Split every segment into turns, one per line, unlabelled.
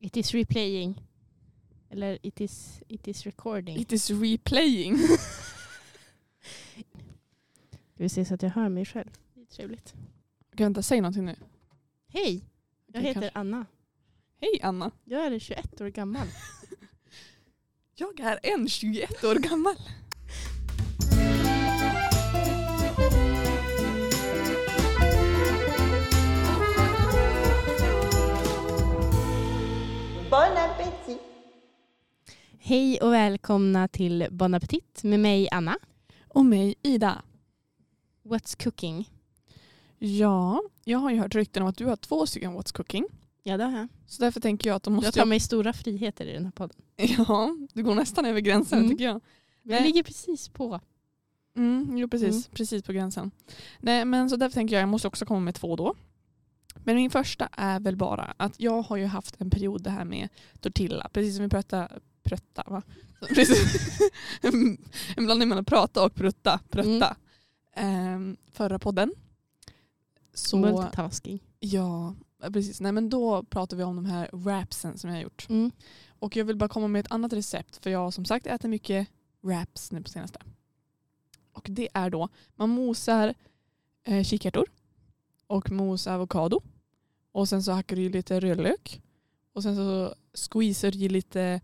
It is replaying. Eller it is, it is recording.
It is replaying.
Ska vi se så att jag hör mig själv. Det är trevligt.
Okej, vänta, säg någonting nu.
Hej! Jag
Okej,
heter
kanske.
Anna.
Hej Anna.
Jag är 21 år gammal.
Jag är en 21 år gammal.
Bon appétit
Hej och välkomna till Bon Appetit med mig Anna.
Och mig Ida.
What's cooking?
Ja, jag har ju hört rykten om att du har två stycken What's Cooking.
Ja det har jag.
Så därför tänker jag att då måste
Jag tar mig stora friheter i den här podden.
jag... Ja, du går nästan över gränsen
Mm.
tycker jag.
Men jag
Nej.
ligger precis på.
Mm, jo, precis.
Mm.
Precis på gränsen. Nej, men så därför tänker jag jag måste också komma med två då. Men min första är väl bara att jag har ju haft en period det här med tortilla, precis som vi pratade prötta va? Precis. en blandning mellan prata och prutta, prötta. Ehm, förra podden. Så,
Multitasking.
ja, precis. Nej men då pratade vi om de här wrapsen som jag har gjort.
Mm.
Och jag vill bara komma med ett annat recept för jag har som sagt ätit mycket wraps nu på senaste. Och det är då, man mosar eh, kikärtor och mosar avokado och sen så hackar du i lite rödlök och sen så squeezar du i lite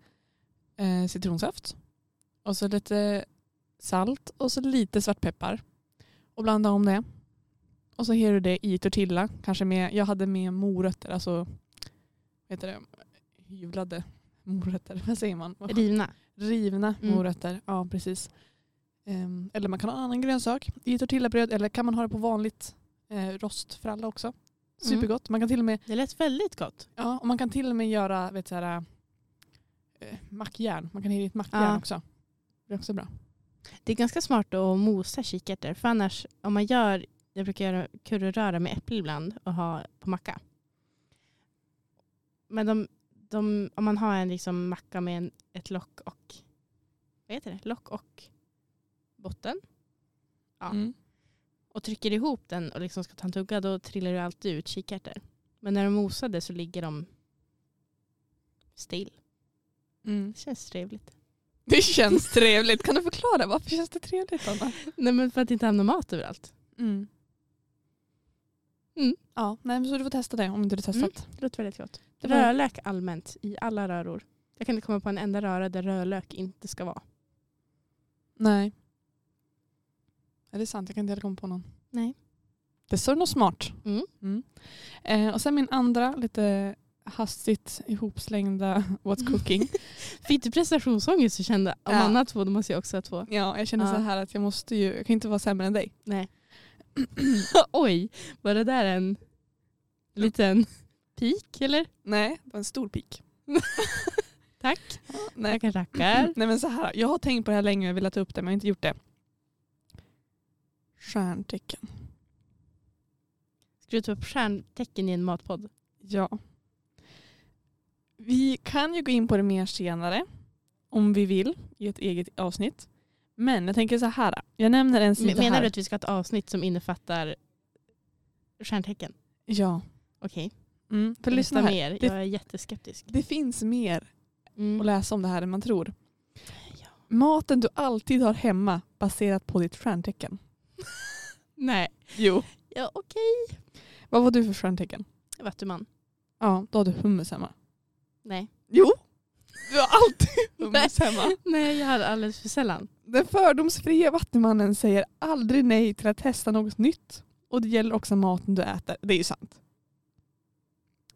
eh, citronsaft och så lite salt och så lite svartpeppar och blandar om det. Och så har du det i tortilla, kanske med, jag hade med morötter, alltså vad heter det, hyvlade morötter. Vad säger man? Vad-
Rivna.
Rivna
Mm.
morötter. Ja, precis. Ehm, eller man kan ha en annan grönsak i tortillabröd eller kan man ha det på vanligt eh, rostfralla också.
Mm.
Supergott. Man kan till och med,
Det lät väldigt gott.
ja, och man kan till och med göra vet, så här, eh, mackjärn. Man kan hitta ett mackjärn
Ja.
också. Det är också bra.
Det är ganska smart att mosa kikärtor. För annars, om man gör, jag brukar göra curryröra med äpple ibland och ha på macka. Men de, de, om man har en liksom macka med en, ett lock och, vad heter det? Lock och botten. Ja.
Mm.
Och trycker ihop den och liksom ska ta en tugga då trillar det alltid ut kikärtor. Men när de mosade så ligger de still.
Mm.
Det känns trevligt.
Det känns trevligt. Kan du förklara varför känns det trevligt Anna?
Nej men för att inte hamna mat överallt.
Mm.
Mm.
Ja, nej, men så du får testa det om inte du testat.
Det låter väldigt gott.
Det var-
Rödlök allmänt i alla röror. Jag kan inte komma på en enda röra där rödlök inte ska vara.
Nej. Är det sant? Jag kan inte heller komma på någon.
Nej.
Det står något smart.
Mm.
Eh, och sen min andra lite hastigt ihopslängda What's Cooking.
Fick du prestationsångest så kände om
Ja.
Anna har två då måste jag också ha två.
ja, jag känner
Ja.
så här att jag måste ju, jag kan inte vara sämre än dig.
Nej. Oj, var det där en liten pik eller?
Nej, det var en stor pik.
Tack.
Nej. Mm,
Tackar tackar.
Nej men så här, jag har tänkt på det här länge och jag vill ta upp det men jag har inte gjort det. Stjärntecken.
Ska du ta upp stjärntecken i en matpodd?
Ja. Vi kan ju gå in på det mer senare om vi vill i ett eget avsnitt. Men jag tänker så här, jag nämner en sida
Menar
här.
du att vi ska ha ett avsnitt som innefattar stjärntecken?
Ja.
Okej,
Mm. För
lyssna
lyssna här.
mer.
Det-
Jag är jätteskeptisk.
Det finns mer och
Mm.
läsa om det här än man tror.
Ja.
Maten du alltid har hemma baserat på ditt stjärntecken.
Nej,
Jo.
ja, okej.
Vad var du för stjärntecken?
Vattuman.
Ja, då har du hummus hemma.
Nej.
Jo. Du har alltid hummus hemma.
Nej, jag har alldeles för sällan.
Den fördomsfria vattenmannen säger aldrig nej till att testa något nytt. Och det gäller också maten du äter. Det är ju sant.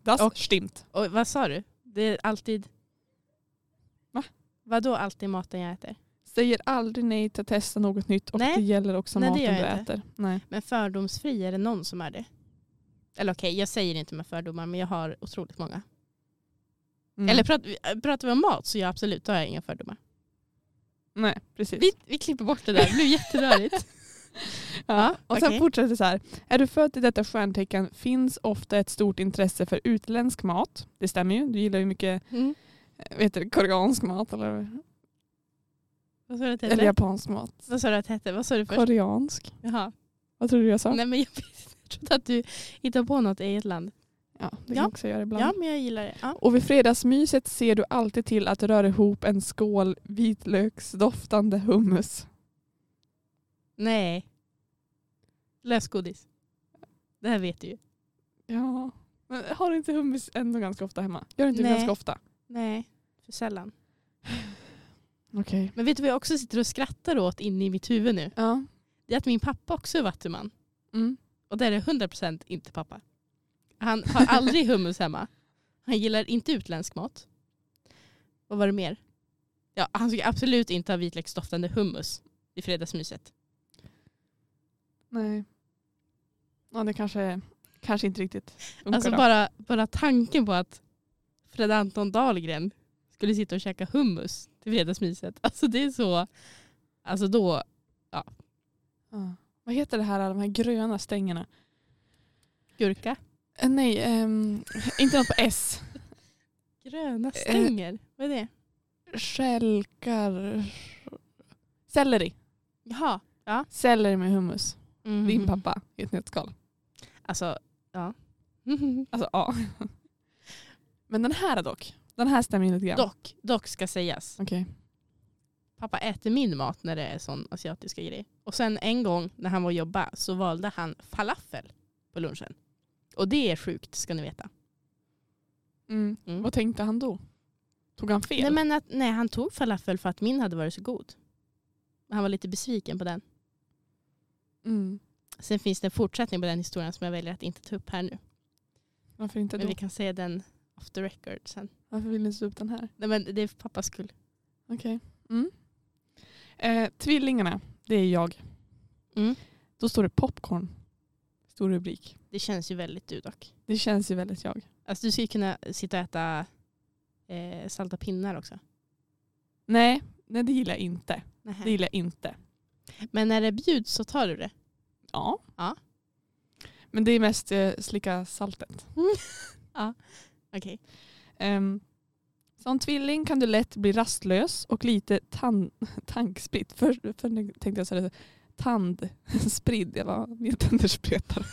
Das
Och-
stimmt.
Och vad sa du? Det är alltid...
Va?
Vadå alltid maten jag äter?
Säger aldrig nej till att testa något nytt och
Nej.
det gäller också
Nej, det
maten
gör
du
jag inte.
äter. Nej.
Men fördomsfri, är det någon som är det? Eller okej, jag säger inte med fördomar men jag har otroligt många.
Mm.
Eller pratar, pratar vi om mat så ja absolut, då har jag inga fördomar.
Nej, precis.
Vi, vi klipper bort det där, det blev jätterörigt.
Ja, och sen
okej.
fortsätter det så här. Är du född i detta stjärntecken finns ofta ett stort intresse för utländsk mat. Det stämmer ju. Du gillar ju mycket
Mm.
eh, vet du, koreansk mat eller,
Vad sa du att det
eller
hette?
japansk mat.
Vad sa du att det hette? Vad sa du först?
Koreansk.
Jaha.
Vad tror du jag sa?
Nej men jag, jag trodde att du hittade på något eget land.
Ja, det kan
Ja.
jag också göra ibland.
Ja, men jag gillar det. Ja.
Och vid fredagsmyset ser du alltid till att röra ihop en skål vitlöksdoftande hummus.
Nej. Lösgodis. Det här vet du ju.
Ja. Men har du inte hummus ändå ganska ofta hemma? Gör du inte det
Nej.
ganska ofta?
Nej, för sällan.
Okej.
Men vet du vad jag också sitter och skrattar åt inne i mitt huvud nu?
Ja.
Det är att min pappa också är vattuman.
Mm.
Och där är det 100% inte pappa. Han har aldrig hummus hemma. Han gillar inte utländsk mat. Vad var det mer? Ja, han ska absolut inte ha vitlöksdoftande hummus i fredagsmyset.
Nej. Ja, det kanske, kanske inte riktigt funkar
Alltså
då.
bara, bara tanken på att Fred Anton Dahlgren skulle sitta och käka hummus till fredagsmyset. Alltså det är så... Alltså då...
Ja. Vad heter det här, de här gröna stängerna?
Gurka.
Eh, nej, ehm, inte något på S.
Gröna stänger. Vad är det?
Skälkar... Selleri.
Jaha.
Selleri med hummus.
Mm.
Din pappa i ett nötskal.
Alltså, ja.
Alltså ja. Men den här dock. Den här stämmer ju lite grann.
dock, dock ska sägas.
Okej.
pappa äter min mat när det är sån asiatiska grej. Och sen en gång när han var och jobba så valde han falafel på lunchen. Och det är sjukt ska ni veta.
Mm.
Mm.
Vad tänkte han då? Tog han fel?
Nej, men att, nej, han tog falafel för att min hade varit så god. Men Han var lite besviken på den.
mm.
Sen finns det en fortsättning på den historien som jag väljer att inte ta upp här nu.
Varför inte
Men
då?
vi kan säga den off the record sen.
Varför vill ni ta upp den här?
Nej, men det är för pappas skull.
Okej. Mm. Eh, tvillingarna, det är jag.
Mm.
Då står det popcorn. Stor rubrik.
Det känns ju väldigt du dock.
Det känns ju väldigt jag.
Alltså, du skulle kunna sitta och äta eh, salta pinnar också.
Nej, nej det gillar jag inte.
Nähä.
Det gillar jag inte.
Men när det bjuds så tar du det.
Ja.
Ja.
Men det är mest eh, slicka saltet.
Okej.
Ehm, som tvilling kan du lätt bli rastlös och lite tan- tankspritt. Först för nu tänkte jag säga det, tandspridd. Jag bara, mina tänder spretar.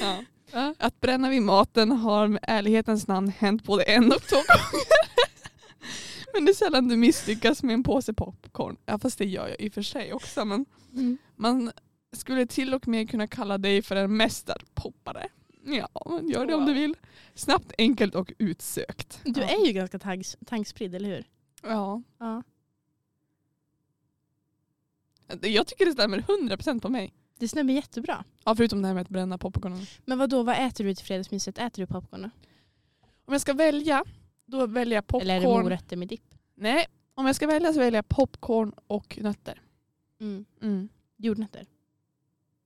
ja.
Ja.
Att bränna vid maten har med ärlighetens namn hänt både en och två gånger. men det är sällan du misslyckas med en påse popcorn. Ja, fast det gör jag i och för sig också. Men
Mm.
man skulle till och med kunna kalla dig för en mästerpoppare. Ja, men gör det om du
Wow.
vill. Snabbt, enkelt och utsökt.
Du
ja.
är ju ganska tanks, tankspridd, eller hur?
Ja.
Ja.
Jag tycker det stämmer 100% på mig.
Det stämmer jättebra.
Ja, förutom det här med att bränna popcornen.
Men vad då, vad äter du till fredagsmyset? Äter du popcorn? då?
Om jag ska välja, då väljer jag popcorn.
Eller är det morötter med dipp?
Nej, om jag ska välja så väljer jag popcorn och nötter. Mm.
Jordnötter?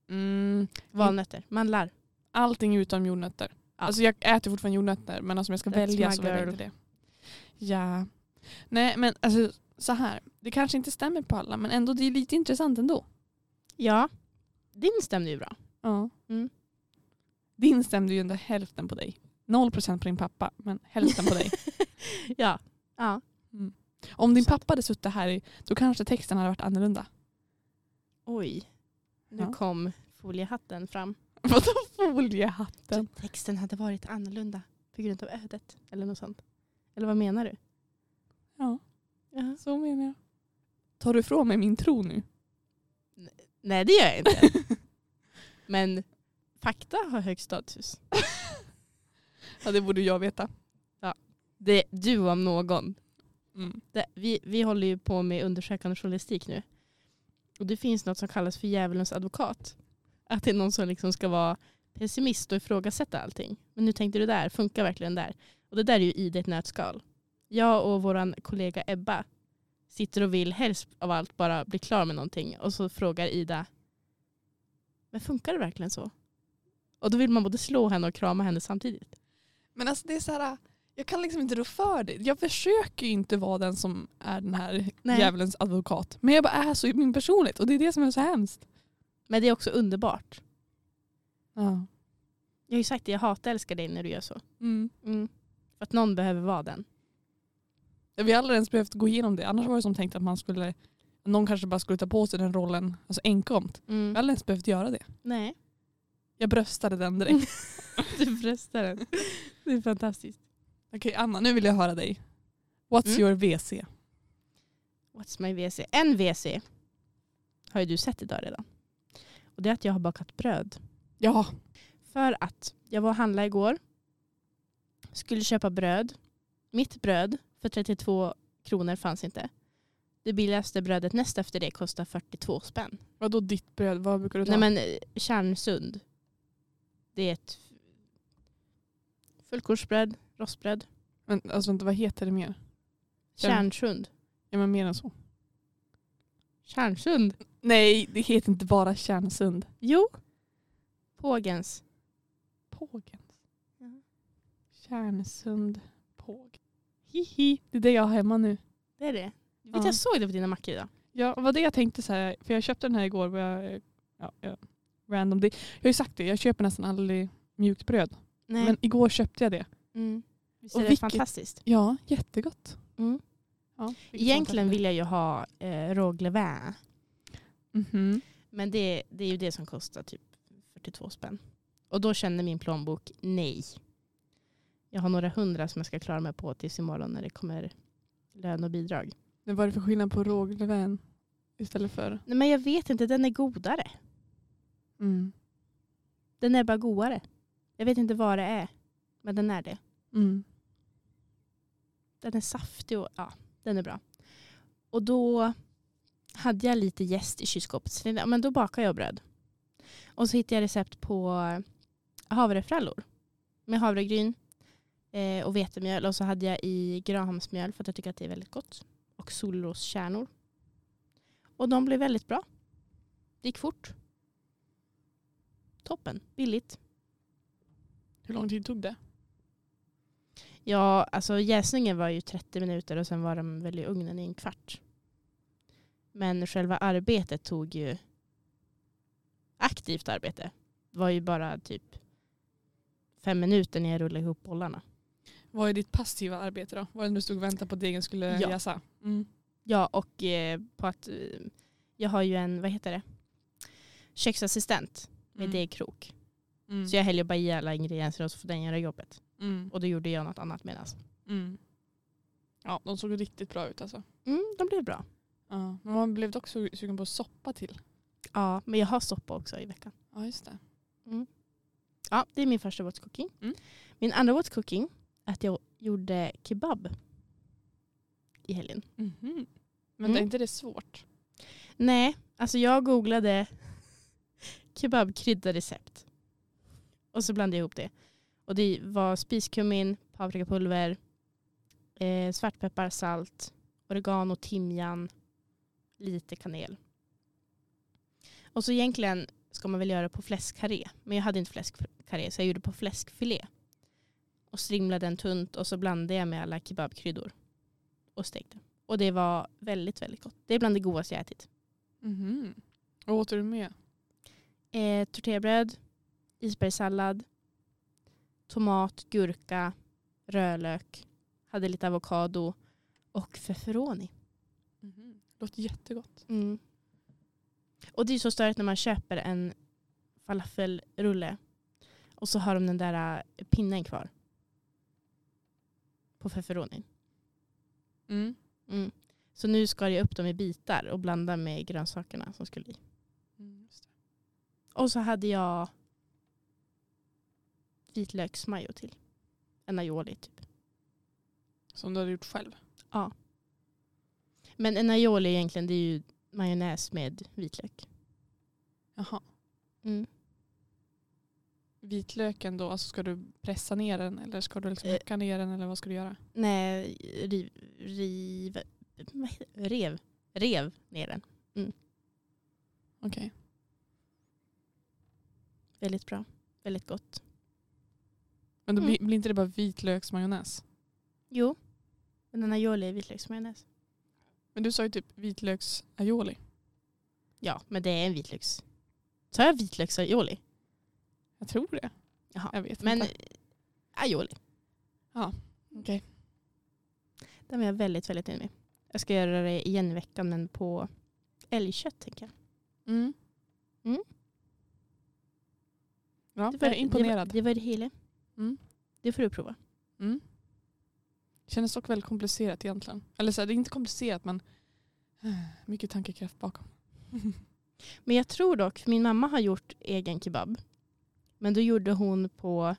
Mm. Valnötter? Mandlar?
Allting utom jordnötter.
Ja.
Alltså jag äter fortfarande jordnötter men alltså om jag ska
That's
välja
my
så väljer jag
girl.
inte det. Ja. Nej men alltså så här. Det kanske inte stämmer på alla men ändå det är lite intressant ändå.
Ja. Din stämde ju bra.
Ja.
Mm.
Din stämde ju ändå hälften på dig. Noll procent på din pappa men hälften på dig.
Ja. ja.
Om din
Sant.
pappa hade suttit här i, då kanske texten hade varit annorlunda.
Oj, nu
Ja.
kom foliehatten fram. Typ.
Vadå foliehatten?
Texten hade varit annorlunda på grund av ödet. Eller något sånt. Eller vad menar du?
Ja,
Ja.
så menar jag. Tar du ifrån mig min tro nu?
Nej, det gör jag inte. Men fakta har hög status.
Ja det borde jag veta.
Det, du om någon.
Mm.
det, vi, vi håller ju på med undersökande journalistik nu. Och det finns något som kallas för djävulens advokat. Att det är någon som liksom ska vara pessimist och ifrågasätta allting. Men nu tänkte du där, funkar verkligen där? Och det där är ju i ett nötskal. Jag och vår kollega Ebba sitter och vill helst av allt bara bli klar med någonting. Och så frågar Ida, men funkar det verkligen så? Och då vill man både slå henne och krama henne samtidigt.
Men alltså det är så här, jag kan liksom inte rå för det. Jag försöker ju inte vara den som är den här
Nej.
djävulens advokat. Men jag bara är så i min personlighet och det är det som är så hemskt.
Men det är också underbart.
Ja.
Jag har ju sagt det, jag hatar älskar dig när du gör så.
Mm.
Mm. För att någon behöver vara den.
Vi har aldrig ens behövt gå igenom det. Annars var det som tänkt att man skulle,
Mm.
någon kanske bara skulle ta på sig den rollen alltså enkomt. Vi har aldrig ens behövt göra det.
Nej.
Jag bröstade den direkt.
Du bröstar den. Det är fantastiskt.
Okej Anna, nu vill jag höra dig. What's
Mm.
your VC?
What's my WC? En WC har ju du sett idag redan. Och det är att jag har bakat bröd.
Ja,
För att jag var och handlade igår. Skulle köpa bröd. Mitt bröd för 32 kronor fanns inte. Det billigaste brödet näst efter det kostar 42 spänn.
vadå ditt bröd? Vad brukar du ta?
Nej men eh, Kärnsund. Det är ett fullkornsbröd, rostbröd.
men, alltså, vänta, vad heter det mer? Kärn-
Kärnsund.
Ja, men mer än så.
Kärnsund?
Nej, det heter inte bara Kärnsund.
Jo. Pågens.
Pågens.
Ja.
Kärnsund påg.
Hihi.
Det är det jag har hemma nu.
Det är det. Vet
Ja.
du, jag såg det på dina mackor idag.
Ja, och vad det jag tänkte så här, för jag köpte den här igår. Och jag, ja, jag, random. Det, jag har ju sagt det, jag köper nästan aldrig mjukt bröd.
Nej.
Men igår köpte jag det.
mm. Visst
Och
är det
vilket-
fantastiskt?
Ja, jättegott.
Mm.
Ja, vilket
Egentligen
sånt
vill jag ju ha eh, Roglevin.
här. Mhm.
Men det, det är ju det som kostar typ 42 spänn. Och då känner min plånbok nej. Jag har några hundra som jag ska klara mig på tills imorgon när det kommer lön och bidrag.
Men vad är det för skillnad på råglevän istället för...
Nej, men jag vet inte, den är godare.
Mm.
Den är bara godare. Jag vet inte vad det är, men den är det.
Mm.
Den är saftig och ja, den är bra. Och då hade jag lite jäst i kylskåpet. Så tänkte jag, men då bakar jag bröd. Och så hittade jag recept på havrefrallor. Med havregryn eh, och vetemjöl. Och så hade jag i grahamsmjöl för att jag tycker att det är väldigt gott. Och solroskärnor. Och de blev väldigt bra. Det gick fort. Toppen. Billigt.
Hur lång tid tog det?
Ja, alltså jäsningen var ju 30 minuter och sen var de väl i ugnen i en kvart. Men själva arbetet tog ju... Aktivt arbete var ju bara typ fem minuter när jag rullade ihop bollarna.
Vad är ditt passiva arbete då? Vad är det du stod och väntade på att degen skulle
Ja.
jäsa? Mm.
Ja, och eh, på att eh, jag har ju en, vad heter det, köksassistent med
Mm.
degkrok.
Mm.
Så jag häller bara i alla ingredienser och så får den göra jobbet.
Mm.
Och då gjorde jag något annat medans.
Mm. Ja, de såg riktigt bra ut alltså.
Mm, de blev bra.
Ja. Men man blev dock su- sugen på soppa till.
Ja, men jag har soppa också i veckan.
Ja, just det.
Ja, det är min första what's cooking.
Mm.
Min andra what's cooking är att jag gjorde kebab i helgen.
Mhm. Men
Mm.
är inte det svårt?
Nej, alltså jag googlade kebabkrydda recept. Och så blandade jag ihop det. Och det var spiskummin, paprikapulver, eh, svartpeppar, salt, oregano, timjan, lite kanel. Och så egentligen ska man väl göra på fläskkarré. Men jag hade inte fläskkarré så jag gjorde på fläskfilé. Och strimlade den tunt och så blandade jag med alla kebabkryddor. Och stekte. Och det var väldigt, väldigt gott. Det är bland det godaste jag ätit.
Mhm. Vad åt du med?
Eh, tortillabröd, isbergssallad, tomat, gurka, rödlök. Hade lite avokado och feferoni.
Mhm. Låter jättegott.
Och det är så störigt när man köper en falafelrulle och så har de den där eh, pinnen kvar. På feferonin.
Mm.
Mm. Så nu skar jag upp dem i bitar och blandade med grönsakerna som skulle i.
Mm, just det.
Och så hade jag vitlöksmajo till. En aioli typ.
Som du hade gjort själv.
Men en aioli egentligen det är ju majonnäs med vitlök.
Jaha. Vitlöken då, alltså ska du pressa ner den eller ska du liksom
Eh.
hacka ner den eller vad ska du göra?
Nej, riv, riv, vad heter det? rev, rev ner den. Mm.
Okej.
Väldigt bra. Väldigt gott.
Men då
Mm.
blir, blir inte det bara vitlöksmajonnäs?
Jo, men en aioli är vitlöksmajonnäs.
Men du sa ju typ vitlöksaioli.
Ja, men det är en vitlöks. Sa jag vitlöksaioli?
Jag tror det.
Jaha.
Jag vet
Men
inte.
aioli.
Okej.
Den var jag väldigt, väldigt nöjd med. Jag ska göra det igen i veckan, men på älgkött tänker jag.
Mm.
Mm.
Ja,
Det var-
jag är
Det
imponerad.
var det, var det hela.
Mm.
Det får du prova.
Mm. Kändes dock väldigt komplicerat egentligen. Eller så här, det är inte komplicerat men eh, mycket tankekraft bakom.
Men jag tror dock, för min mamma har gjort egen kebab. Men då gjorde hon på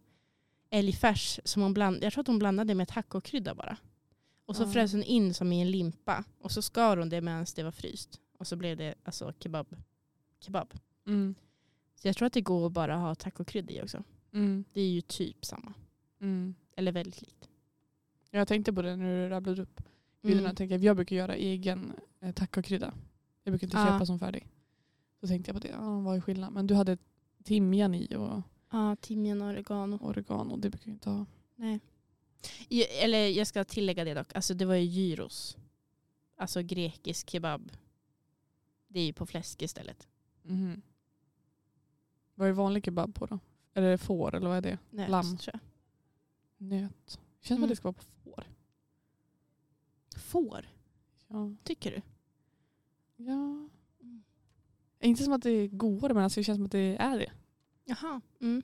älgfärs som hon blandade, jag tror att hon blandade med tacokrydda bara. Och så
Ja.
frös hon in som i en limpa och så skar hon det medan det var fryst. Och så blev det alltså kebab. kebab.
Mm.
Så jag tror att det går att bara ha tacokrydda i också.
Mm.
Det är ju typ samma.
Mm.
Eller väldigt likt.
Jag tänkte på det när du rabblade upp kryddorna.
Mm.
Tänker jag, jag brukar göra egen eh, tacokrydda. Jag brukar inte
Ah.
köpa som färdig. Så tänkte jag på det, ja, vad är skillnaden? Men du hade timjan i och
Ja, timjan och oregano.
oregano. och det brukar jag inte ha.
Nej. I- Eller jag ska tillägga det dock. Alltså det var ju gyros. Alltså grekisk kebab. Det är ju på fläsk istället.
Mhm. Vad är vanlig kebab på då? Är det får eller vad är det?
Nöt,
Lamm.
tror jag.
Nöt. Känns som
Mm.
att det ska vara på får.
Får,
Ja.
tycker du?
ja.
Mm.
Inte som att det är godare men alltså det känns som att det är det.
Jaha. Mm.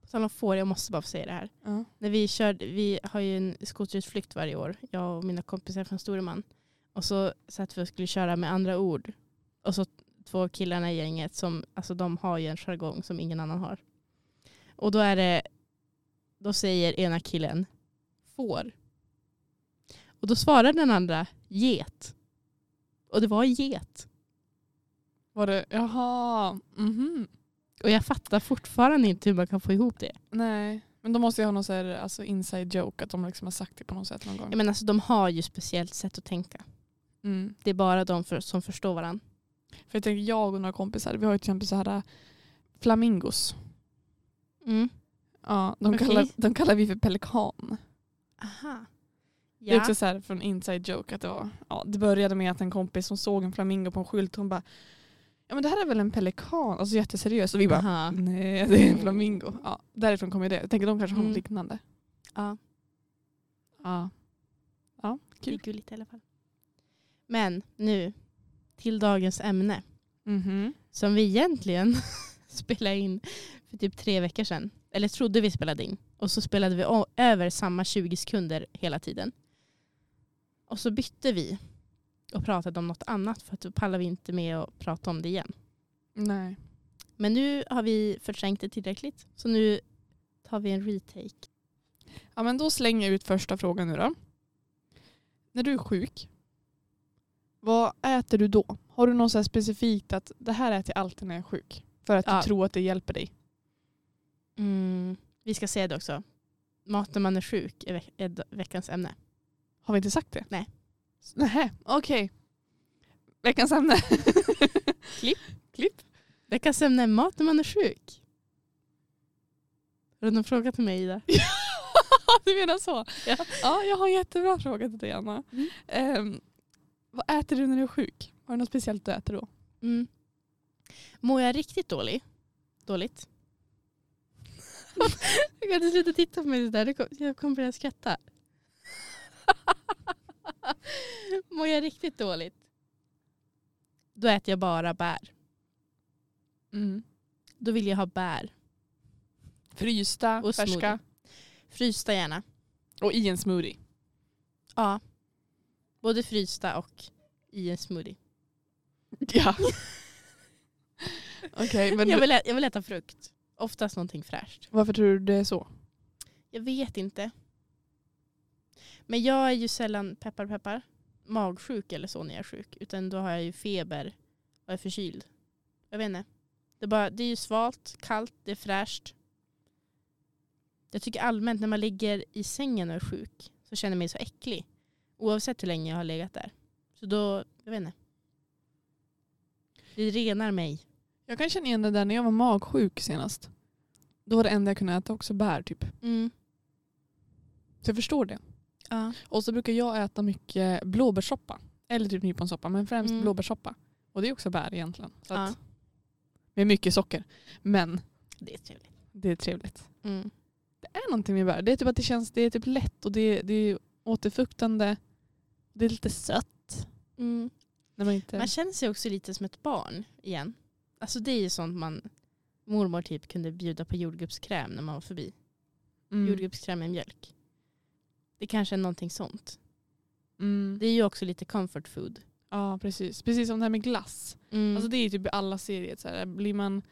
På tal om får, jag måste bara få säga det här.
Ja.
När vi, körde, vi har ju en skoterutflykt varje år, jag och mina kompisar från Storuman. Och så satt vi och skulle köra med andra ord. Och så två killarna i gänget, som, alltså de har ju en jargong som ingen annan har. Och då är det, då säger ena killen får. Och då svarar den andra get. Och det var get.
Var det, jaha. Mhm.
Och jag fattar fortfarande inte hur man kan få ihop
Mm.
det.
Nej. Men då måste jag ha någon så här, alltså inside joke att de liksom har sagt det på något sätt någon gång.
Jag menar, alltså, de har ju speciellt sätt att tänka.
Mm.
Det är bara de för, som förstår varandra.
För jag tänker jag och några kompisar, vi har ju till exempel så här äh, flamingos.
Mm.
Ja, de,
Okej.
kallar, de kallar vi för pelikan.
Aha.
Det är också så här från inside joke att det var, ja det började med att en kompis som såg en flamingo på en skylt hon bara Ja men det här är väl en pelikan? Alltså jätteseriös. Och vi bara
Aha.
Nej det är en flamingo. Ja, därifrån kommer ju det. Jag tänker de kanske har
Mm.
något liknande.
Ja,
Ja.
det är
Kul.
gulligt i alla fall. Men nu till dagens ämne
Mhm.
som vi egentligen spelade in för typ tre veckor sedan. Eller trodde vi spelade in. Och så spelade vi o- över samma 20 sekunder hela tiden. Och så bytte vi och pratade om något annat för att då pallar vi inte med att prata om det igen.
Nej.
Men nu har vi förträngt det tillräckligt. Så nu tar vi en retake.
Ja men då slänger jag ut första frågan nu då. När du är sjuk, vad äter du då? Har du något så här specifikt att det här äter jag alltid när jag är sjuk? För att
Ja.
du tror att det hjälper dig?
Mm, vi ska säga det också. Mat när man är sjuk är, veck- är d- veckans ämne.
Har vi inte sagt det?
Nej.
S- Nähä, okej. Veckans ämne.
Klipp.
Klipp.
Veckans ämne är mat när man är sjuk. Har du någon fråga till mig Ida?
du menar så?
Ja.
ja, jag har en jättebra fråga till dig Anna.
Mm.
Ehm, vad äter du när du är sjuk? Har du något speciellt du äter då?
Mm. Mår jag riktigt dålig? dåligt? jag kan inte sluta titta på mig sådär. Det kom- Jag kommer börja skratta. Mår jag riktigt dåligt? Då äter jag bara bär.
Mm.
Då vill jag ha bär.
Frysta,
Och
färska
smoothie. Frysta gärna.
och i en smoothie.
Ja. Både frysta och i en smoothie.
Ja. Okej, men
Jag vill, ä- jag vill äta frukt. Oftast någonting fräscht.
varför tror du det är så?
Jag vet inte. Men jag är ju sällan, peppar peppar, magsjuk eller så när jag är sjuk. Utan då har jag ju feber och är förkyld. Jag vet inte. Det är, bara, det är ju svalt, kallt, det är fräscht. Jag tycker allmänt när man ligger i sängen och är sjuk så känner jag mig så äcklig. Oavsett hur länge jag har legat där. Så då, jag vet inte. Det renar mig.
Jag kan känna igen det där när jag var magsjuk senast. Då var det enda jag kunde äta också bär typ.
Mm.
Så jag förstår det.
Ja.
Och så brukar jag äta mycket blåbärssoppa. Eller typ nyponsoppa, men främst
Mm.
blåbärssoppa. Och det är också bär egentligen. Så
Ja.
att, Med mycket socker. Men
Det är trevligt.
det är trevligt.
Mm.
Det är någonting med bär. Det är typ att det känns det är typ lätt och det, det är återfuktande. Det är lite sött.
Mm.
När man inte...
Man känner sig också lite som ett barn igen. Alltså det är ju sånt man mormor typ kunde bjuda på jordgubbskräm när man var förbi.
Mm.
Jordgubbskräm med mjölk. Det kanske är någonting sånt.
Mm.
Det är ju också lite comfort food.
Ja, precis. Precis som det här med glass.
Mm.
Alltså det är ju typ i alla serier. Så här, blir man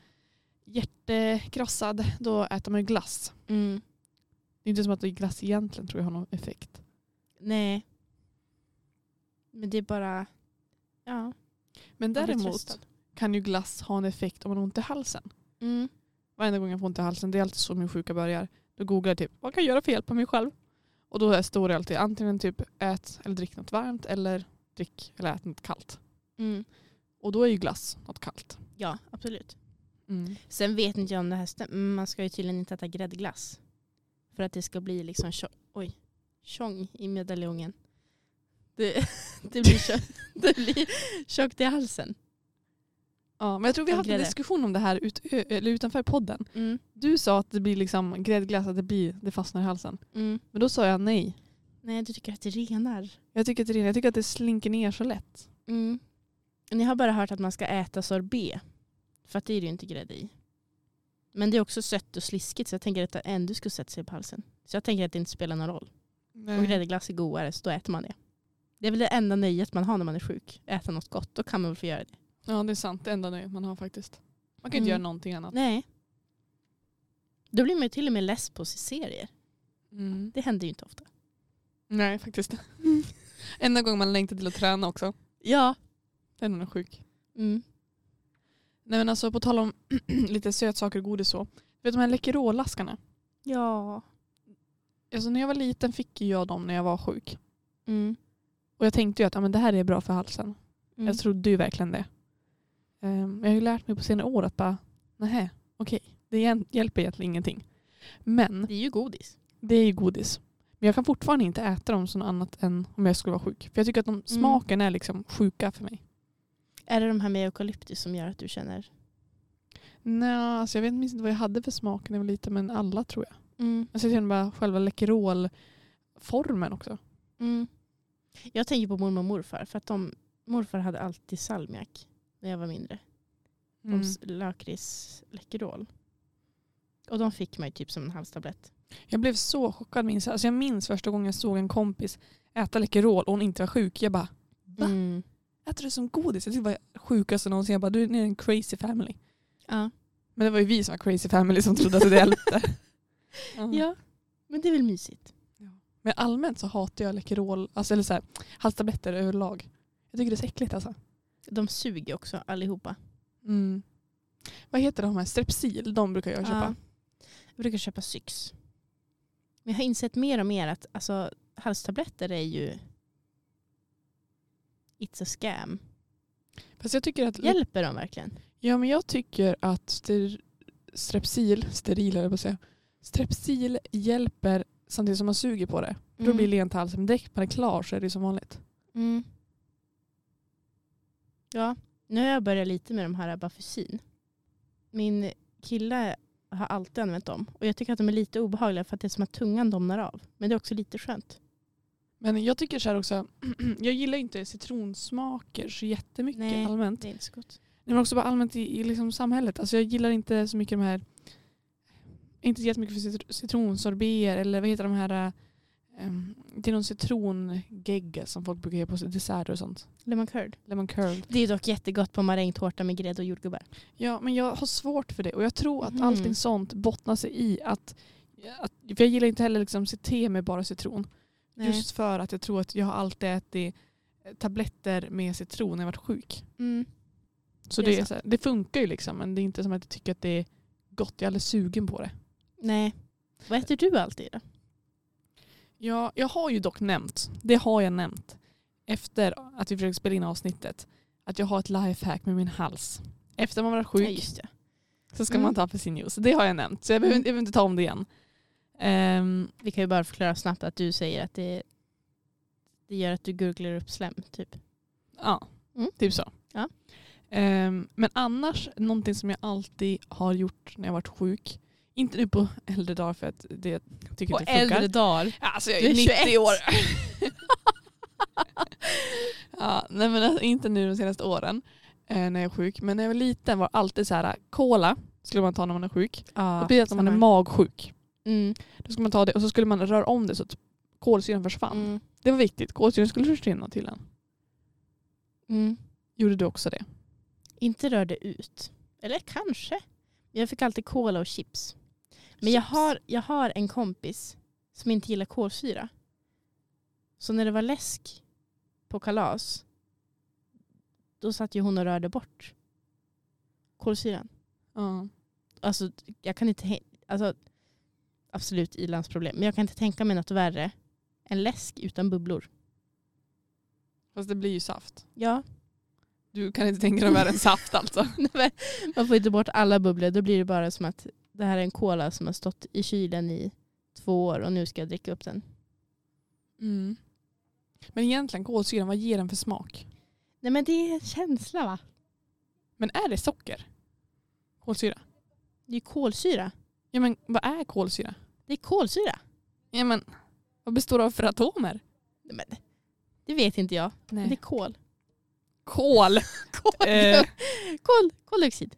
hjärtekrossad då äter man ju glass.
mm.
Det är inte som att glass egentligen tror jag har någon effekt.
Nej. Men det är bara... Ja.
Men
man blir
däremot
tröstad.
kan ju glass ha en effekt om man har ont i halsen.
Mm.
Varenda gång jag får ont i halsen, det är alltid så min sjuka börjar. Då googlar jag typ, vad kan jag göra för hjälp på mig själv? Och då är- står det alltid antingen typ ät eller drick något varmt eller drick eller ät något kallt.
Mm.
Och då är ju glass något kallt.
Ja, absolut. Sen vet inte jag om det här stämmer. men Man ska ju tydligen inte äta gräddglass. För att det ska bli liksom tjo- oj, tjong i medaljongen. Det, det, blir tjo- det blir tjockt i halsen.
Ja, men jag tror vi har haft en
Grädde.
diskussion om det här ut, ö- eller utanför podden.
Mm.
Du sa att det blir liksom gräddglass, att det, blir, det fastnar i halsen.
Mm.
Men då sa jag nej.
Nej, du tycker att det renar.
Jag tycker, att det, jag tycker att det slinker ner så lätt.
Mm. Ni har bara hört att man ska äta sorbet. För att det är det ju inte grädde i. Men det är också sött och sliskigt så jag tänker att det ändå skulle sätta sig på halsen. Så jag tänker att det inte spelar någon roll. Om gräddglass är godare så då äter man det. Det är väl det enda nöjet man har när man är sjuk. Äta något gott, då kan man väl få göra det.
Ja, det är sant. Det enda nöjet man har faktiskt. Man kan ju inte
Mm.
göra någonting annat.
Nej. Då blir man ju till och med less på sig serier.
Mm.
Det händer ju inte ofta.
Nej, faktiskt. Enda gången man längtar till att träna också.
Ja.
Det är nog sjuk.
Mm.
Nej men alltså på tal om lite sötsaker och godis så. Vet du de här Läkerol-askarna?
Ja.
Alltså när jag var liten fick ju jag dem när jag var sjuk.
Mm.
Och jag tänkte ju att ah, men det här är bra för halsen.
Mm.
Jag trodde ju verkligen det. Ehm, jag har ju lärt mig på senare år att bara, nej, okej. Det egent- hjälper egentligen ingenting. Men
Det är ju godis.
det är ju godis. Men jag kan fortfarande inte äta dem som något annat än om jag skulle vara sjuk. För jag tycker att de smaken är liksom sjuka för mig.
Är det de här med eukalyptus som gör att du känner?
Nej, alltså jag vet minns inte vad jag hade för smak när jag var liten, men alla tror jag.
Mm.
Alltså jag känner bara själva Läkerol-formen också.
Mm. Jag tänker på mormor och morfar. För att de, morfar hade alltid salmiak när jag var mindre.
Mm.
Mm. Lakrits Läkerol. Och de fick mig typ som en halstablett.
Jag blev så chockad minns jag. Alltså jag minns första gången jag såg en kompis äta Läkerol och hon inte var sjuk. Jag bara, Va?
Mm.
äter du som godis? Jag tyckte det var det sjukaste någonsin. Jag bara, du är en crazy family.
Ja.
Men det var ju vi som var crazy family som trodde att det hjälpte. Ja.
ja. Men det är väl mysigt.
Men allmänt så hatar jag Läkerol, alltså, eller så här, halstabletter överlag. Jag tycker det är så äckligt alltså.
De suger också allihopa.
Mm. Vad heter de här? Strepsil, de brukar jag köpa.
Ja. Jag brukar köpa Syx. Men jag har insett mer och mer att alltså, halstabletter är ju It's a scam.
Fast jag tycker att
Hjälper de verkligen?
Ja men jag tycker att ster, strepsil, steril höll jag på att säga, strepsil hjälper samtidigt som man suger på det. Då blir det lent i halsen. Men direkt när man är klar så är det ju som vanligt.
Mm. Ja, nu har jag börjat lite med de här Bafusin. Min kille har alltid använt dem. Och jag tycker att de är lite obehagliga för att det är som att tungan domnar av. Men det är också lite skönt.
Men jag tycker så här också, jag gillar ju inte citronsmaker så jättemycket
Nej.
allmänt.
Det är inte så gott.
Nej, Men också bara allmänt i, i liksom samhället. Alltså jag gillar inte så mycket de här, inte så jättemycket för citr- citronsorbeer eller vad heter de här, um, det är någon citrongegga som folk brukar göra på desserter och sånt.
Lemon curd.
Lemon curd.
Det är dock jättegott på marängtårta med grädde och jordgubbar.
Ja, men jag har svårt för det. Och jag tror att
Mhm.
allting sånt bottnar sig i att, att för jag gillar inte heller liksom te med bara citron.
Nej.
Just för att jag tror att jag har alltid ätit eh, tabletter med citron när jag varit sjuk.
Mm.
Så
Det är
det, är
sant.
så här, det funkar ju liksom men det är inte som att jag tycker att det är gott. Jag är alldeles sugen på det.
Nej. Vad äter du alltid då?
Ja, jag har ju dock nämnt, det har jag nämnt efter att vi försökte spela in avsnittet, att jag har ett lifehack med min hals. Efter man varit sjuk
Ja, just det.
så ska
Mm.
man ta apelsinjuice. Det har jag nämnt så jag behöver,
Mm.
inte- jag behöver inte ta om det igen. Ehm,
Vi kan ju bara förklara snabbt att du säger att det, det gör att du gurglar upp slem. Typ.
Ja,
Mm.
typ så.
Ja.
Ehm, men annars, någonting som jag alltid har gjort när jag varit sjuk. Inte nu på äldre dagar för att det tycker jag inte funkar.
dagar.
Ja, Alltså jag
Du
är
är
90
21.
år. ja, nej men alltså, inte nu de senaste åren. eh, när jag är sjuk. Men när jag var liten var det alltid så här, cola skulle man ta när man är sjuk.
Ja,
och speciellt om man är magsjuk.
mm.
Då skulle man ta det och så skulle man röra om det så att kolsyran försvann.
Mm.
Det var viktigt. Kolsyran skulle försvinna till en.
Mm.
Gjorde du också det?
Inte rörde ut. Eller kanske. Jag fick alltid cola och chips. Men jag har, jag har en kompis som inte gillar kolsyra. Så när det var läsk på kalas då satt ju hon och rörde bort kolsyran.
Ja.
Alltså, jag kan inte, he- alltså, absolut i-landsproblem, men jag kan inte tänka mig något värre än läsk utan bubblor.
Fast det blir ju saft.
Ja,
Du kan inte tänka dig värre än saft alltså.
man får inte bort alla bubblor. Då blir det bara som att det här är en cola som har stått i kylen i två år och nu ska jag dricka upp den.
Mm. Men egentligen kolsyran, vad ger den för smak?
Nej men det är en känsla va?
Men är det socker? Kolsyra?
Det är kolsyra.
Ja men vad är kolsyra?
Det är kolsyra.
Ja men vad består det av för atomer?
Nej, men, det vet inte jag. Men det är kol.
Kol!
Kol.
Eh.
kol. Koldioxid.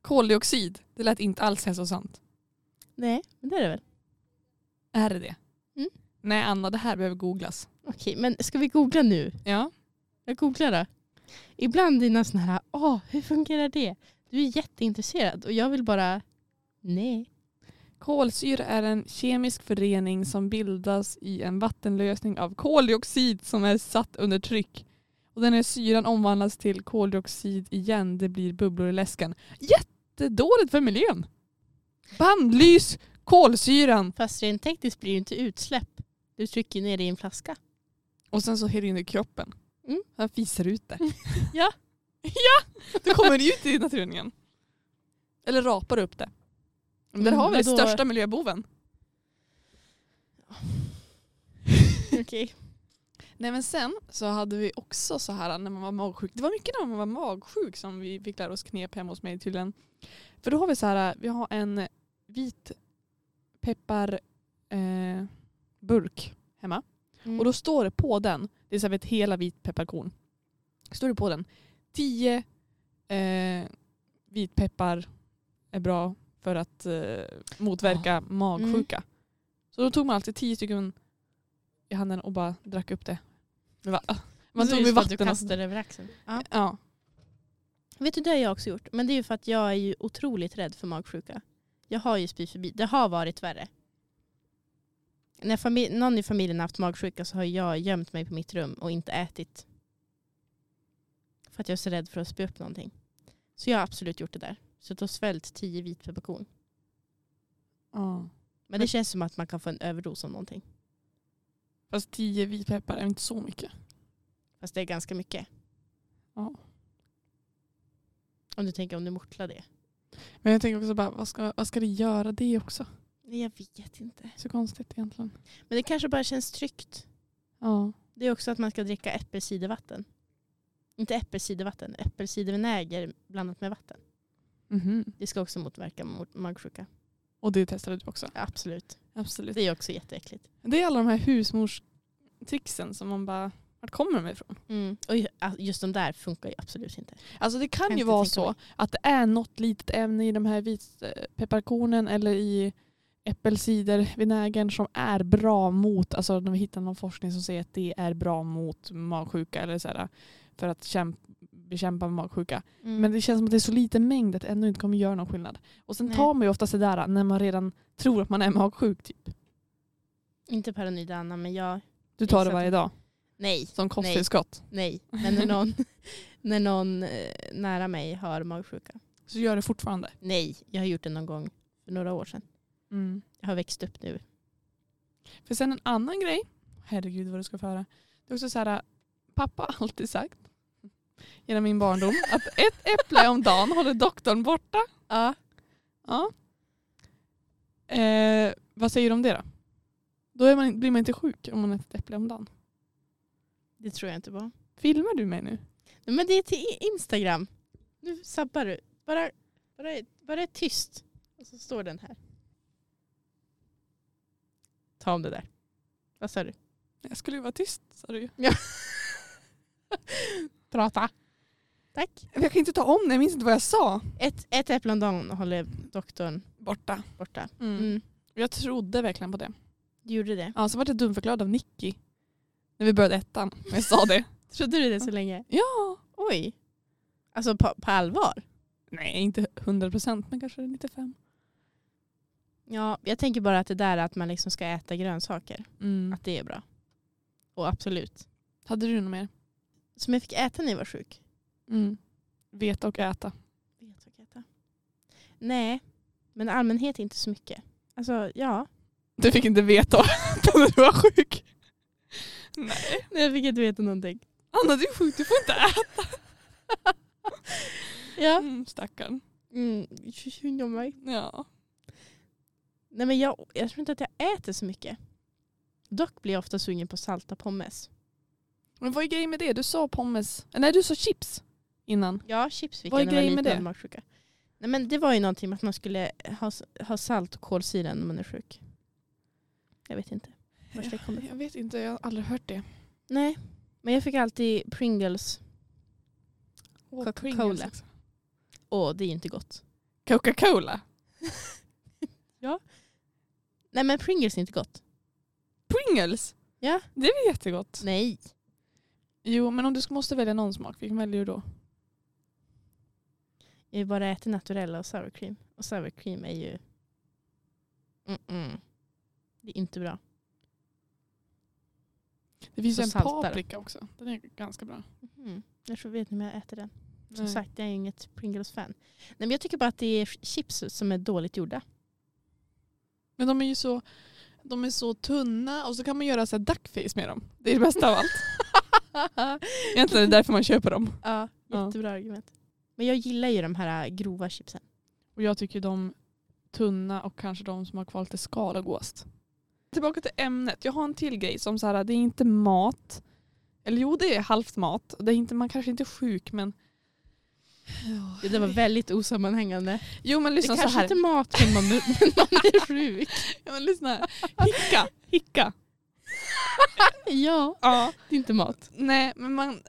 Koldioxid. Det lät inte alls hälsosamt.
Nej, men det är det väl.
Är det det?
Mm.
Nej Anna, det här behöver googlas.
Okej, men ska vi googla nu?
Ja.
Jag googlar då. Ibland dina sådana här, åh, hur fungerar det? Du är jätteintresserad och jag vill bara, nej.
Kolsyra är en kemisk förening som bildas i en vattenlösning av koldioxid som är satt under tryck. Och den här syran omvandlas till koldioxid igen. Det blir bubblor i läsken. Jättedåligt för miljön. Bandlys kolsyran.
Fast rent tekniskt blir det ju inte utsläpp. Du trycker ju ner det i en flaska.
Och sen så häller in i kroppen.
Mm.
Han fisar ut det.
Ja.
ja! Det kommer ut i naturen igen. Eller rapar upp det. Men där
Mm,
har vi den
vadå?
största miljöboven.
Okej.
Nej men sen så hade vi också så här när man var magsjuk. Det var mycket när man var magsjuk som vi fick lära oss knep hemma hos mig tydligen. För då har vi så här, vi har en vit pepparburk eh, burk hemma. Och då står det på den, det är så här ett hela vitpepparkorn. Står det på den, 10 eh, vitpeppar är bra för att eh, motverka magsjuka. Så då tog man alltid 10 stycken i handen och bara drack upp det. Det var- Man
Så är
tog
det
med
så att Du
vatten och
kastar över axeln. Ja.
Ja.
Vet du, det har jag också gjort. Men det är ju för att jag är ju otroligt rädd för magsjuka. Jag har ju spyfobi. Det har varit värre. När fami- någon i familjen har haft magsjuka så har jag gömt mig på mitt rum och inte ätit. För att jag är så rädd för att spy upp någonting. Så jag har absolut gjort det där. Så då svällt tio vitpepparkorn.
ja.
Men det känns som att man kan få en överdos av någonting.
Fast 10 vitpeppar är inte så mycket.
Fast det är ganska mycket.
Ja.
Om du tänker om du mortlar det.
Men jag tänker också bara, vad ska, vad ska det göra det också?
Nej, jag vet inte.
Så konstigt egentligen.
Men det kanske bara känns tryggt.
Ja.
Det är också att man ska dricka äppelcidervatten. Inte äppelcidervatten, äppelcidervinäger blandat med vatten.
Mhm.
Det ska också motverka mot- magsjuka.
Och det testade du också?
Ja, absolut.
Absolut.
Det är också jätteäckligt.
Det är alla de här husmorstrixen som man bara, vart kommer de ifrån?
Och ju- ah, just de där funkar ju absolut inte.
Alltså det kan
Kan
ju
inte
vara
tänka
så
mig.
att det är något litet ämne i de här vitpepparkornen eller i äppelcidervinägern som är bra mot, alltså när vi hittar någon forskning som säger att det är bra mot magsjuka eller så här, för att kämpa, bekämpa magsjuka.
Mm.
Men det känns som att det är så liten mängd att det ändå inte kommer göra någon skillnad. Och sen
Nej.
tar man ju oftast det där när man redan tror att man är magsjuk typ.
Inte paranoid Anna, men jag...
Du tar det
Exakt.
varje dag
Nej,
som kosttillskott.
nej. Men när någon, när någon eh, nära mig har magsjuka.
Så gör det fortfarande.
Nej, jag har gjort det någon gång för några år sedan. Jag har växt upp nu.
För sen en annan grej, herregud vad du ska få höra. Det är också så här, äh, pappa har alltid sagt genom min barndom att ett äpple om dagen håller doktorn borta.
Ja.
Ja. Eh, vad säger du om det då? Då är man, blir man inte sjuk om man äter ett äpple om dagen.
Det tror jag inte på.
Filmar du mig nu?
Nej, men det är till Instagram. Nu sabbar du. Bara, bara, bara är tyst. Och så står den här. Ta om det där. Vad sa du?
Jag skulle ju vara tyst sa du ju.
Prata. Tack.
Jag kan inte ta om det, jag minns inte vad jag sa.
Ett, ett äpple om dagen håller doktorn
Borta.
borta.
Mm.
Mm.
Jag trodde verkligen på det.
Du gjorde det.
Ja, så var jag dumförklarad av Nicky. När vi började ettan. Men Jag sa det.
Trodde du det så länge?
ja.
Oj. Alltså på, på allvar?
Nej, inte 100 procent, men kanske 95.
Ja, jag tänker bara att det där att man liksom ska äta grönsaker,
Mm.
att det är bra. Och absolut.
Hade du något mer?
Som jag fick äta när jag var sjuk.
Mm. Veta och äta.
Vet jag äta. Nej, men i allmänhet inte så mycket. Alltså ja.
Du fick inte veta och äta när du var sjuk.
Nej, jag fick inte veta någonting.
Anna, du är sjuk, du får inte äta.
Ja.
Mm, stackarn.
Mm. jag-
Ja.
Nej, men jag, jag tror inte att jag äter så mycket. Dock blir jag ofta sugen på salta pommes.
Men vad är grejen med det? Du sa pommes. Eh, Nej, du sa chips innan.
Ja, chips fick
Vad är
jag när jag var
grejen med
liten
det?
och magsjuka. Nej, men det var ju någonting med att man skulle ha, ha salt och kolsyra när man är sjuk. Jag vet inte. Vart det kommer
Jag vet inte, jag har aldrig hört det.
Nej, men jag fick alltid Pringles.
Åh,
Coca-Cola.
Pringles liksom. också.
Åh, det är ju inte gott.
Coca-Cola?
Nej men Pringles är inte gott.
Pringles?
Ja.
Det är väl jättegott?
Nej.
Jo, men om du måste välja någon smak, vilken väljer du då?
Jag har ju bara ätit naturella och sour cream. Och sour cream är ju... Mm-mm. Det är inte bra.
Det finns
Så
ju en
saltare.
paprika också. Den är ganska bra.
Mm. Jag tror vet ni om jag äter den. Som
Mm-hmm. Nej.
sagt, jag är inget Pringles-fan. Nej men jag tycker bara att det är chips som är dåligt gjorda.
Men de är ju så, de är så tunna och så kan man göra så här duckface med dem. Det är det bästa av allt. Egentligen är det därför man köper dem.
ja,
Ja.
jättebra argument. Men jag gillar ju de här äh, grova chipsen.
Och jag tycker de tunna och kanske de som har kvar lite skal och gåst. Tillbaka till ämnet. Jag har en till grej som så här, det är inte mat. Eller jo, det är halvt mat. Det är inte, man kanske inte är sjuk men...
Det var väldigt osammanhängande.
Jo men
Det
lyssna så
kanske
här.
inte är mat men man, men man är sjuk.
Ja, men lyssna här. Hicka. Hicka.
ja,
Ja.
det är inte mat.
Nej men man...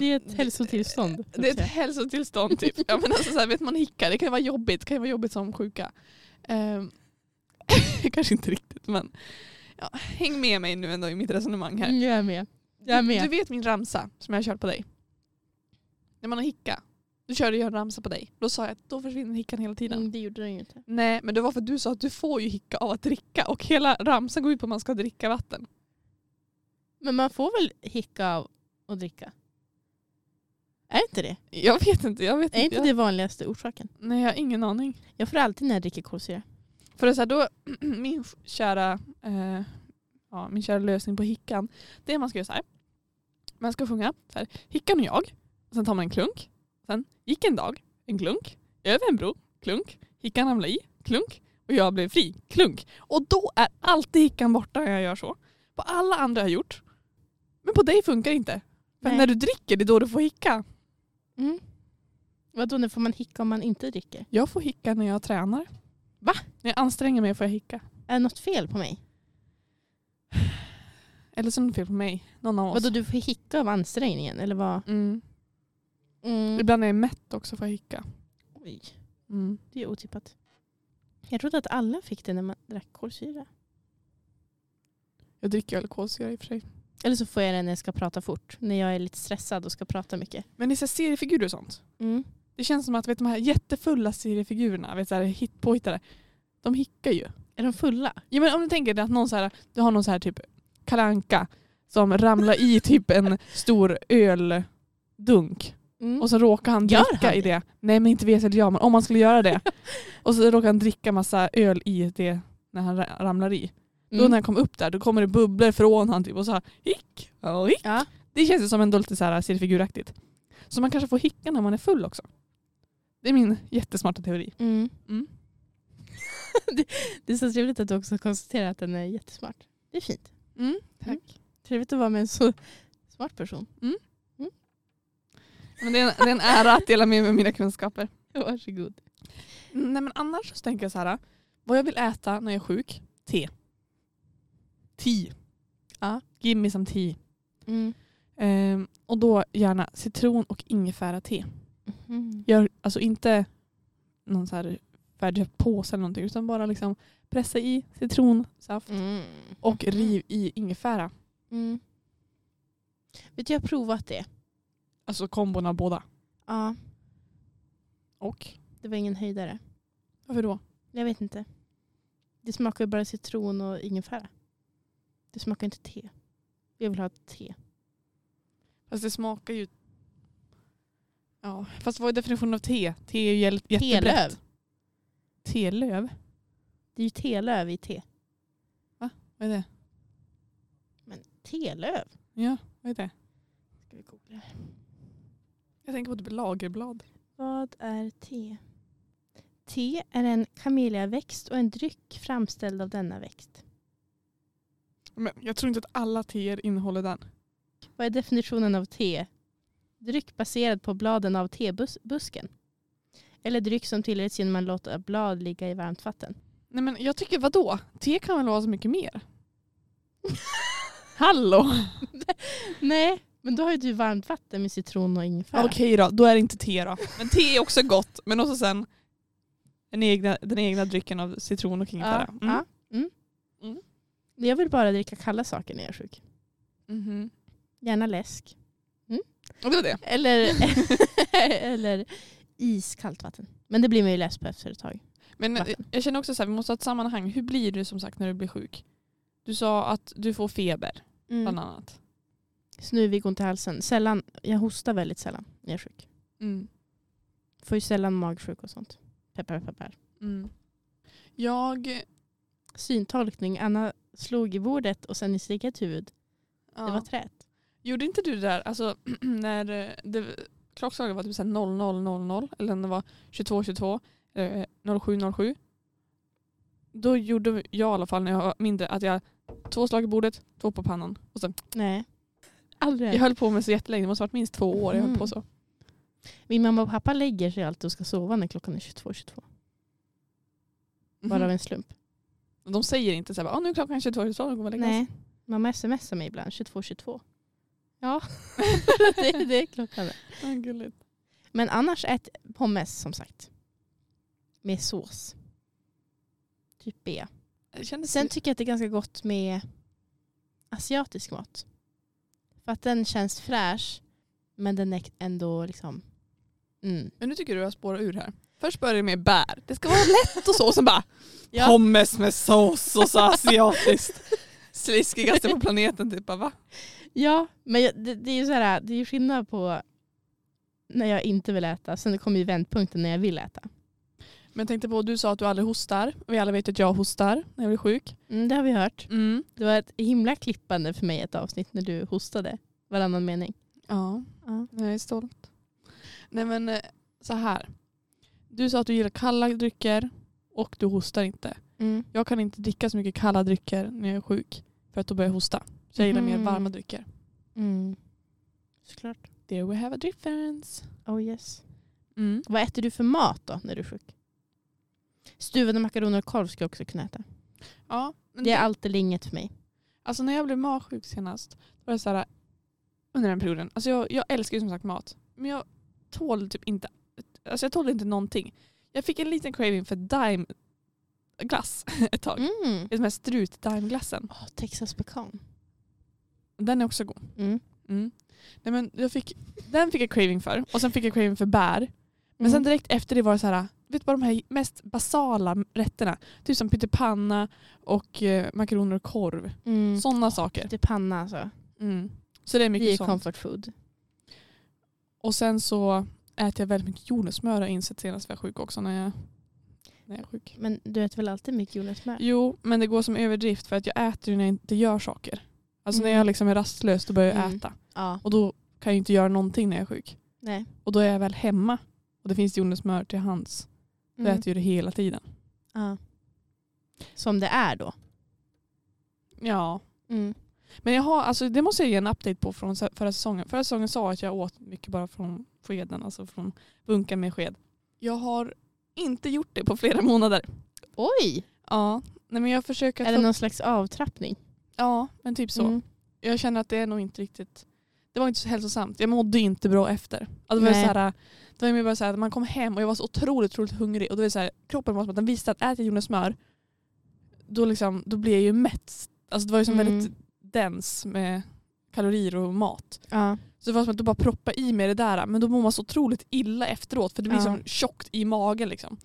Det är ett hälsotillstånd.
Mm, Det är ett hälsotillstånd typ. Ja, men alltså, så här, vet man hicka, det kan ju vara jobbigt. Det kan ju vara jobbigt som sjuka. Ehm, kanske inte riktigt men ja, häng med mig nu ändå i mitt resonemang här.
Mm, Jag är med. Jag är med.
Du vet min ramsa som jag har kört på dig? När man har hicka, då körde jag en ramsa på dig. Då sa jag att då försvinner hickan hela tiden.
Mm, det gjorde den ju inte.
Nej men det var för att du sa att du får ju hicka av att dricka och hela ramsan går ut på att man ska dricka vatten.
Men man får väl hicka av och dricka? Är inte det?
Jag vet inte, jag vet
Är inte
jag,
det vanligaste orsaken?
Nej jag har ingen aning.
Jag får alltid när jag dricker kolsyra.
För det är så här, då, min kära, eh, ja, min kära lösning på hickan, det är man ska göra så här. Man ska sjunga så här, hickan och jag, och sen tar man en klunk, sen gick en dag, en klunk, över en bro, klunk, hickan ramlade i, klunk, och jag blev fri, klunk. Och då är alltid hickan borta när jag gör så. På alla andra jag har gjort. Men på dig funkar det inte. För
Nej.
när du dricker, det är då du får hicka.
Mm. Vadå, nu får man hicka om man inte dricker?
Jag får hicka när jag tränar.
Va?
När jag anstränger mig får jag hicka.
Är det något fel på mig?
Eller så är det något fel på mig. Någon av oss.
Vadå, du får hicka av ansträngningen? Eller vad?
Mm.
Mm.
Ibland är jag mätt också för att hicka.
Oj, det är otippat. Jag trodde att alla fick det när man drack kolsyra.
Jag dricker ju kolsyra i och för sig.
Eller så får jag det när jag ska prata fort. När jag är lite stressad och ska prata mycket.
Men det är så här seriefigurer och sånt.
Mm.
Det känns som att vet, de här jättefulla seriefigurerna, vet, så här, hit, påhittade, de hickar ju.
Är de fulla?
Ja, men om du tänker dig att någon så här, du har någon så här typ kalanka som ramlar i typ en stor öldunk
Mm.
och så råkar han
Gör
dricka
han
i det. Nej men inte vet väl jag men om man skulle göra det. och så råkar han dricka massa öl i det när han ra- ramlar i.
Mm.
Då när han kom upp där då kommer det bubblor från han typ och så här hick och hick.
Ja.
Det känns ju som ändå lite så här seriefiguraktigt. Så man kanske får hicka när man är full också. Det är min jättesmarta teori.
Mm.
Mm.
Det är så trevligt att du också konstaterar att den är jättesmart. Det är fint.
tack.
Mm. Trevligt att vara med en så smart person.
Men det, är en, det är en ära att dela med mig av mina kunskaper.
Varsågod.
Nej men annars så tänker jag så här. Vad jag vill äta när jag är sjuk? Te. Te. Ja. Give me some tea.
Mm.
Ehm, och då gärna citron och ingefära te. Gör alltså inte någon så här färdigköpt påse eller någonting utan bara liksom pressa i citronsaft
Mm.
och riv i ingefära.
Mm. Vet du, jag har provat det.
Alltså kombon av båda.
Ja,
Och?
det var ingen höjdare.
Varför då?
Jag vet inte. Det smakar ju bara citron och ingefära. Det smakar inte te. Jag vill ha te.
Fast det smakar ju... Ja, fast vad är definitionen av te? Te är ju jäl- jättebrett.
Telöv.
Telöv?
Det är ju telöv i te.
Vad är det?
Men telöv?
Ja, vad är det?
Ska vi googla här.
Jag tänker på typ lagerblad.
Vad är te? Te är en kameliaväxt och en dryck framställd av denna växt.
Men jag tror inte att alla teer innehåller den.
Vad är definitionen av te? Dryck baserad på bladen av tebusken. Eller dryck som tillreds genom att låta blad ligga i varmt vatten.
Nej men jag tycker vadå? Te kan väl vara så mycket mer? Hallå!
Nej, men då har ju du varmt vatten med citron och ingefära.
Okej då, då är det inte te då. Men te är också gott. Men också sen den egna, den egna drycken av citron och ingefära.
Ja, ja. Mm.
Mm.
Jag vill bara dricka kalla saker när jag är sjuk.
Mhm.
Gärna läsk.
Och det var det.
Eller, eller iskallt vatten. Men det blir man ju läs på efter ett tag.
Men eh,
Vatten.
jag känner också så här, vi måste ha ett sammanhang. Hur blir du som sagt när du blir sjuk? Du sa att du får feber bland annat.
Snuvig, ont i halsen. Sällan, jag hostar väldigt sällan när jag är sjuk.
Mm.
Får ju sällan magsjuk och sånt. Peppar, peppar.
Mm. Jag...
Syntolkning. Anna slog i bordet och sen i sitt eget huvud.
Ja.
Det var trät.
Gjorde inte du det där, alltså när eh, det, klockslaget var typ så här 00.00 eller när det var 22.22, eh, 07.07. Då gjorde jag i alla fall när jag var mindre att jag två slag i bordet, två på pannan. Och sen,
Nej. Aldrig.
jag höll på med så jättelänge, det måste ha varit minst två år jag
Mm.
höll på så.
Min mamma och pappa lägger sig alltid och ska sova när klockan är 22.22.
Mhm.
Bara av en slump.
Mm. De säger inte så här, "Ah, nu är klockan 22.22, nu går vi och lägger oss."
Nej, mamma smsar mig ibland 22.22. Ja, det, det är klockan.
Ah, gulligt.
Men annars ät pommes som sagt. Med sås. Typ B.
Det kändes
Sen tycker jag att det är ganska gott med asiatisk mat. För att den känns fräsch men den är ändå liksom... Mm.
Men nu tycker du jag spårar ur här. Först börjar det med bär. Det ska vara lätt och så, sen bara
Ja.
pommes med sås och så asiatiskt. Sliskigaste på planeten typ. Bara, va?
Ja, men jag, det, det är ju så här, det är ju skillnad på när jag inte vill äta. Sen kommer ju vändpunkten när jag vill äta.
Men jag tänkte på, du sa att du aldrig hostar. Vi alla vet att jag hostar när jag blir sjuk.
Mm, det har vi hört. Det var ett himla klippande för mig ett avsnitt när du hostade varannan mening.
Ja,
Ja.
jag är stolt. Nej men eh, så här. Du sa att du gillar kalla drycker och du hostar inte.
Mm.
Jag kan inte dricka så mycket kalla drycker när jag är sjuk för att då börjar jag hosta. Så jag gillar
Mhm.
mer varma drycker.
Mm. Såklart.
There we have a difference.
Oh yes.
Mm.
Vad äter du för mat då när du är sjuk? Stuvade makaroner och korv ska jag också kunna äta.
Ja, men
Det är allt eller inget för mig.
Alltså när jag blev magsjuk senast, var det så här, under den perioden, alltså jag, jag älskar ju som sagt mat. Men jag tål typ inte, alltså jag tål inte någonting. Jag fick en liten craving för dime glass ett tag.
Mm.
Det är Den här strut daimglassen.
Åh, Texas pecan.
Den är också god.
Mm.
Mm. Nej, men jag fick, den fick jag craving för och sen fick jag craving för bär.
Mm.
Men sen direkt efter det var det så här, vet bara de här mest basala rätterna. Typ som pyttipanna och eh, makaroner och korv.
Mm.
Sådana saker.
Det är panna alltså.
Mm. Så det är mycket
Det är
sånt.
comfort food.
Och sen så äter jag väldigt mycket jordnötssmör har jag insett senast jag var sjuk också när jag, när jag är sjuk.
Men du äter väl alltid mycket jordnötssmör?
Jo, men det går som överdrift för att jag äter ju när jag inte gör saker. Alltså när
Mm.
jag liksom är rastlös då börjar jag
Mm.
äta.
Ja.
Och då kan jag ju inte göra någonting när jag är sjuk.
Nej.
Och då är jag väl hemma och det finns jordnötssmör till hands. Då
Mm.
äter jag det hela tiden.
ja. Som det är då.
Ja. Mm. Men jag har, alltså det måste jag ge en update på från se- förra säsongen. Förra säsongen sa jag att jag åt mycket bara från skeden, alltså från bunken med sked. Jag har inte gjort det på flera månader.
Oj!
Ja, nej men jag försöker att
Är det
få-
någon slags avtrappning?
Ja, men typ så.
Mm.
Jag känner att det är nog inte riktigt. Det var inte så hälsosamt. Jag mådde inte bra efter. Alltså det, var
Nej.
så här, det var mer bara så här att man kom hem och jag var så otroligt, otroligt hungrig. Och då var det så här, kroppen var som att den visste att äter jag jordnötssmör då, liksom, då blir jag ju mätt. Alltså det var ju som
Mm.
väldigt dens med kalorier och mat.
Ja.
Så det var som att du bara proppa i mig det där. Men då mår man så otroligt illa efteråt för det blir
Ja.
som tjockt i magen. Liksom.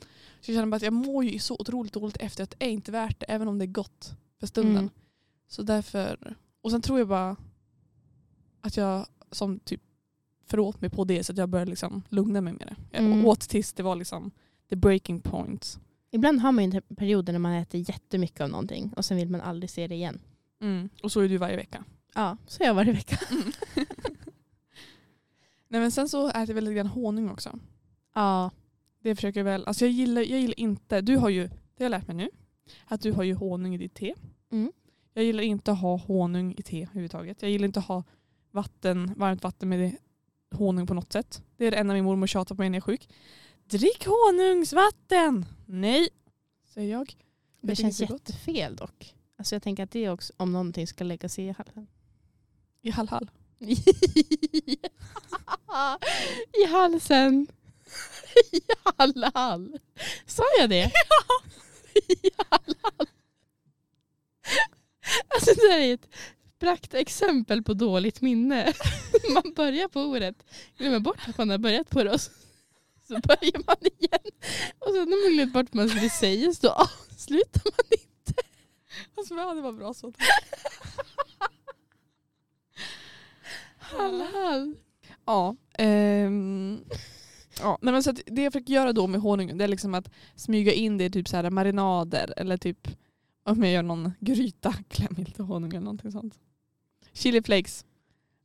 Så jag känner bara att jag mår ju så otroligt dåligt efter att det är inte värt det även om det är gott för stunden.
Mm.
Så därför, och sen tror jag bara att jag som typ föråt mig på det så att jag började liksom lugna mig med det. Jag
Mm.
åt tills det var liksom the breaking point.
Ibland har man ju en period när man äter jättemycket av någonting och sen vill man aldrig se det igen. Mm.
Och så är du varje vecka.
Ja, så har jag varit i veckan.
Nej men sen så äter jag väl lite grann honung också.
Ja.
Det försöker jag väl. Alltså jag gillar, jag gillar inte, du har ju, det har jag lärt mig nu, att du har ju honung i ditt te.
Mm.
Jag gillar inte att ha honung i te överhuvudtaget. Jag gillar inte att ha vatten, varmt vatten med honung på något sätt. Det är det enda min mormor tjatar på mig när jag är sjuk. Drick honungsvatten! Nej, säger jag.
Det,
Jag tycker
känns
det är gott.
jättefel dock. Alltså jag tänker att det är också om någonting ska lägga sig i halsen.
I hall-hall.
I halsen. I hallhall. Sa jag det? Ja. I hallhall. Alltså det här är ett praktexempel på dåligt minne. Man börjar på ordet, glömmer bort att man har börjat på det och så, så börjar man igen. Och sen har man glömt bort vad man skulle säga så avslutar man inte.
Alltså ja, det var bra så.
Hallhall.
Ja. ehm, ja. Nej, men så att det jag försöker göra då med honungen det är liksom att smyga in det i typ så här marinader eller typ om jag gör någon gryta, kläm lite honung eller någonting sånt. Chili flakes.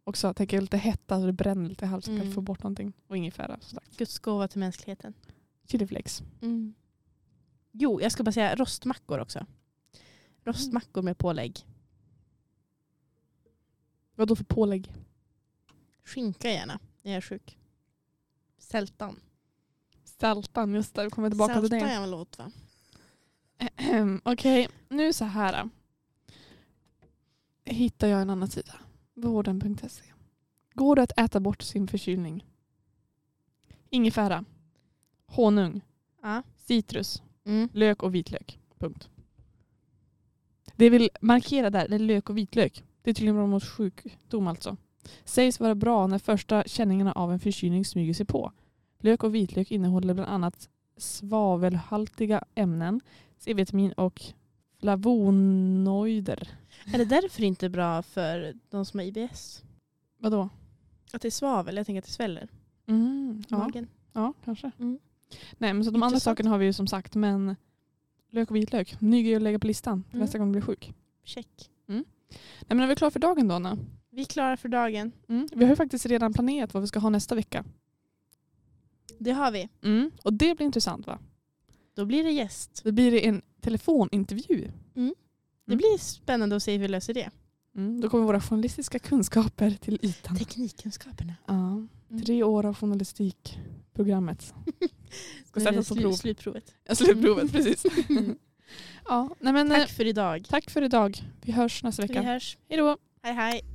Också tänker jag lite hetta så det bränner lite i halsen
Mm.
för att få bort någonting. Och ingefära som sagt.
Guds gåva till mänskligheten.
Chili flakes.
Mm. Jo, jag ska bara säga rostmackor också. Rostmackor med pålägg.
Vad då för pålägg?
Skinka gärna när jag är sjuk. Sältan.
Saltan, just det. Vi kommer tillbaka till det.
är väl åt va?
Ehm, Okej, nu så här. Hittar jag en annan sida. Vården.se. Går det att äta bort sin förkylning? Ingefära. Honung.
Ja.
Citrus.
Mm.
Lök och vitlök. Punkt. Det jag vill markera där det är lök och vitlök. Det är tydligen bra mot sjukdom alltså. Sägs vara bra när första känningarna av en förkylning smyger sig på. Lök och vitlök innehåller bland annat svavelhaltiga ämnen, C-vitamin och flavonoider.
Är det därför inte bra för de som har IBS?
Vadå?
Att det är svavel, jag tänker att det sväller
Mm,
i
ja,
magen.
ja, kanske.
Mm.
Nej, men så de andra
Intressant.
sakerna har vi ju som sagt, men lök och vitlök, ny grej att lägga på listan till
Mm.
nästa gång du blir sjuk.
Check.
Nej, men är vi klara för dagen då, Anna?
Vi är klara för dagen.
Mm. Vi har ju faktiskt redan planerat vad vi ska ha nästa vecka.
Det har vi.
Och det blir intressant va?
Då blir det gäst.
Det blir en telefonintervju.
Det
Mm.
blir spännande att se hur vi löser det.
Mm. Då kommer våra journalistiska kunskaper till ytan.
Teknikkunskaperna.
Ja. Mm.
Mm.
Tre år av journalistikprogrammet. Ska
Nu är det
sättas på
slu-
prov.
Slutprovet.
Ja, slutprovet, precis. ja, nej men, eh,
Tack för idag.
tack för idag. Vi hörs nästa
Vi
vecka.
hörs.
Hej då.
Hej hej.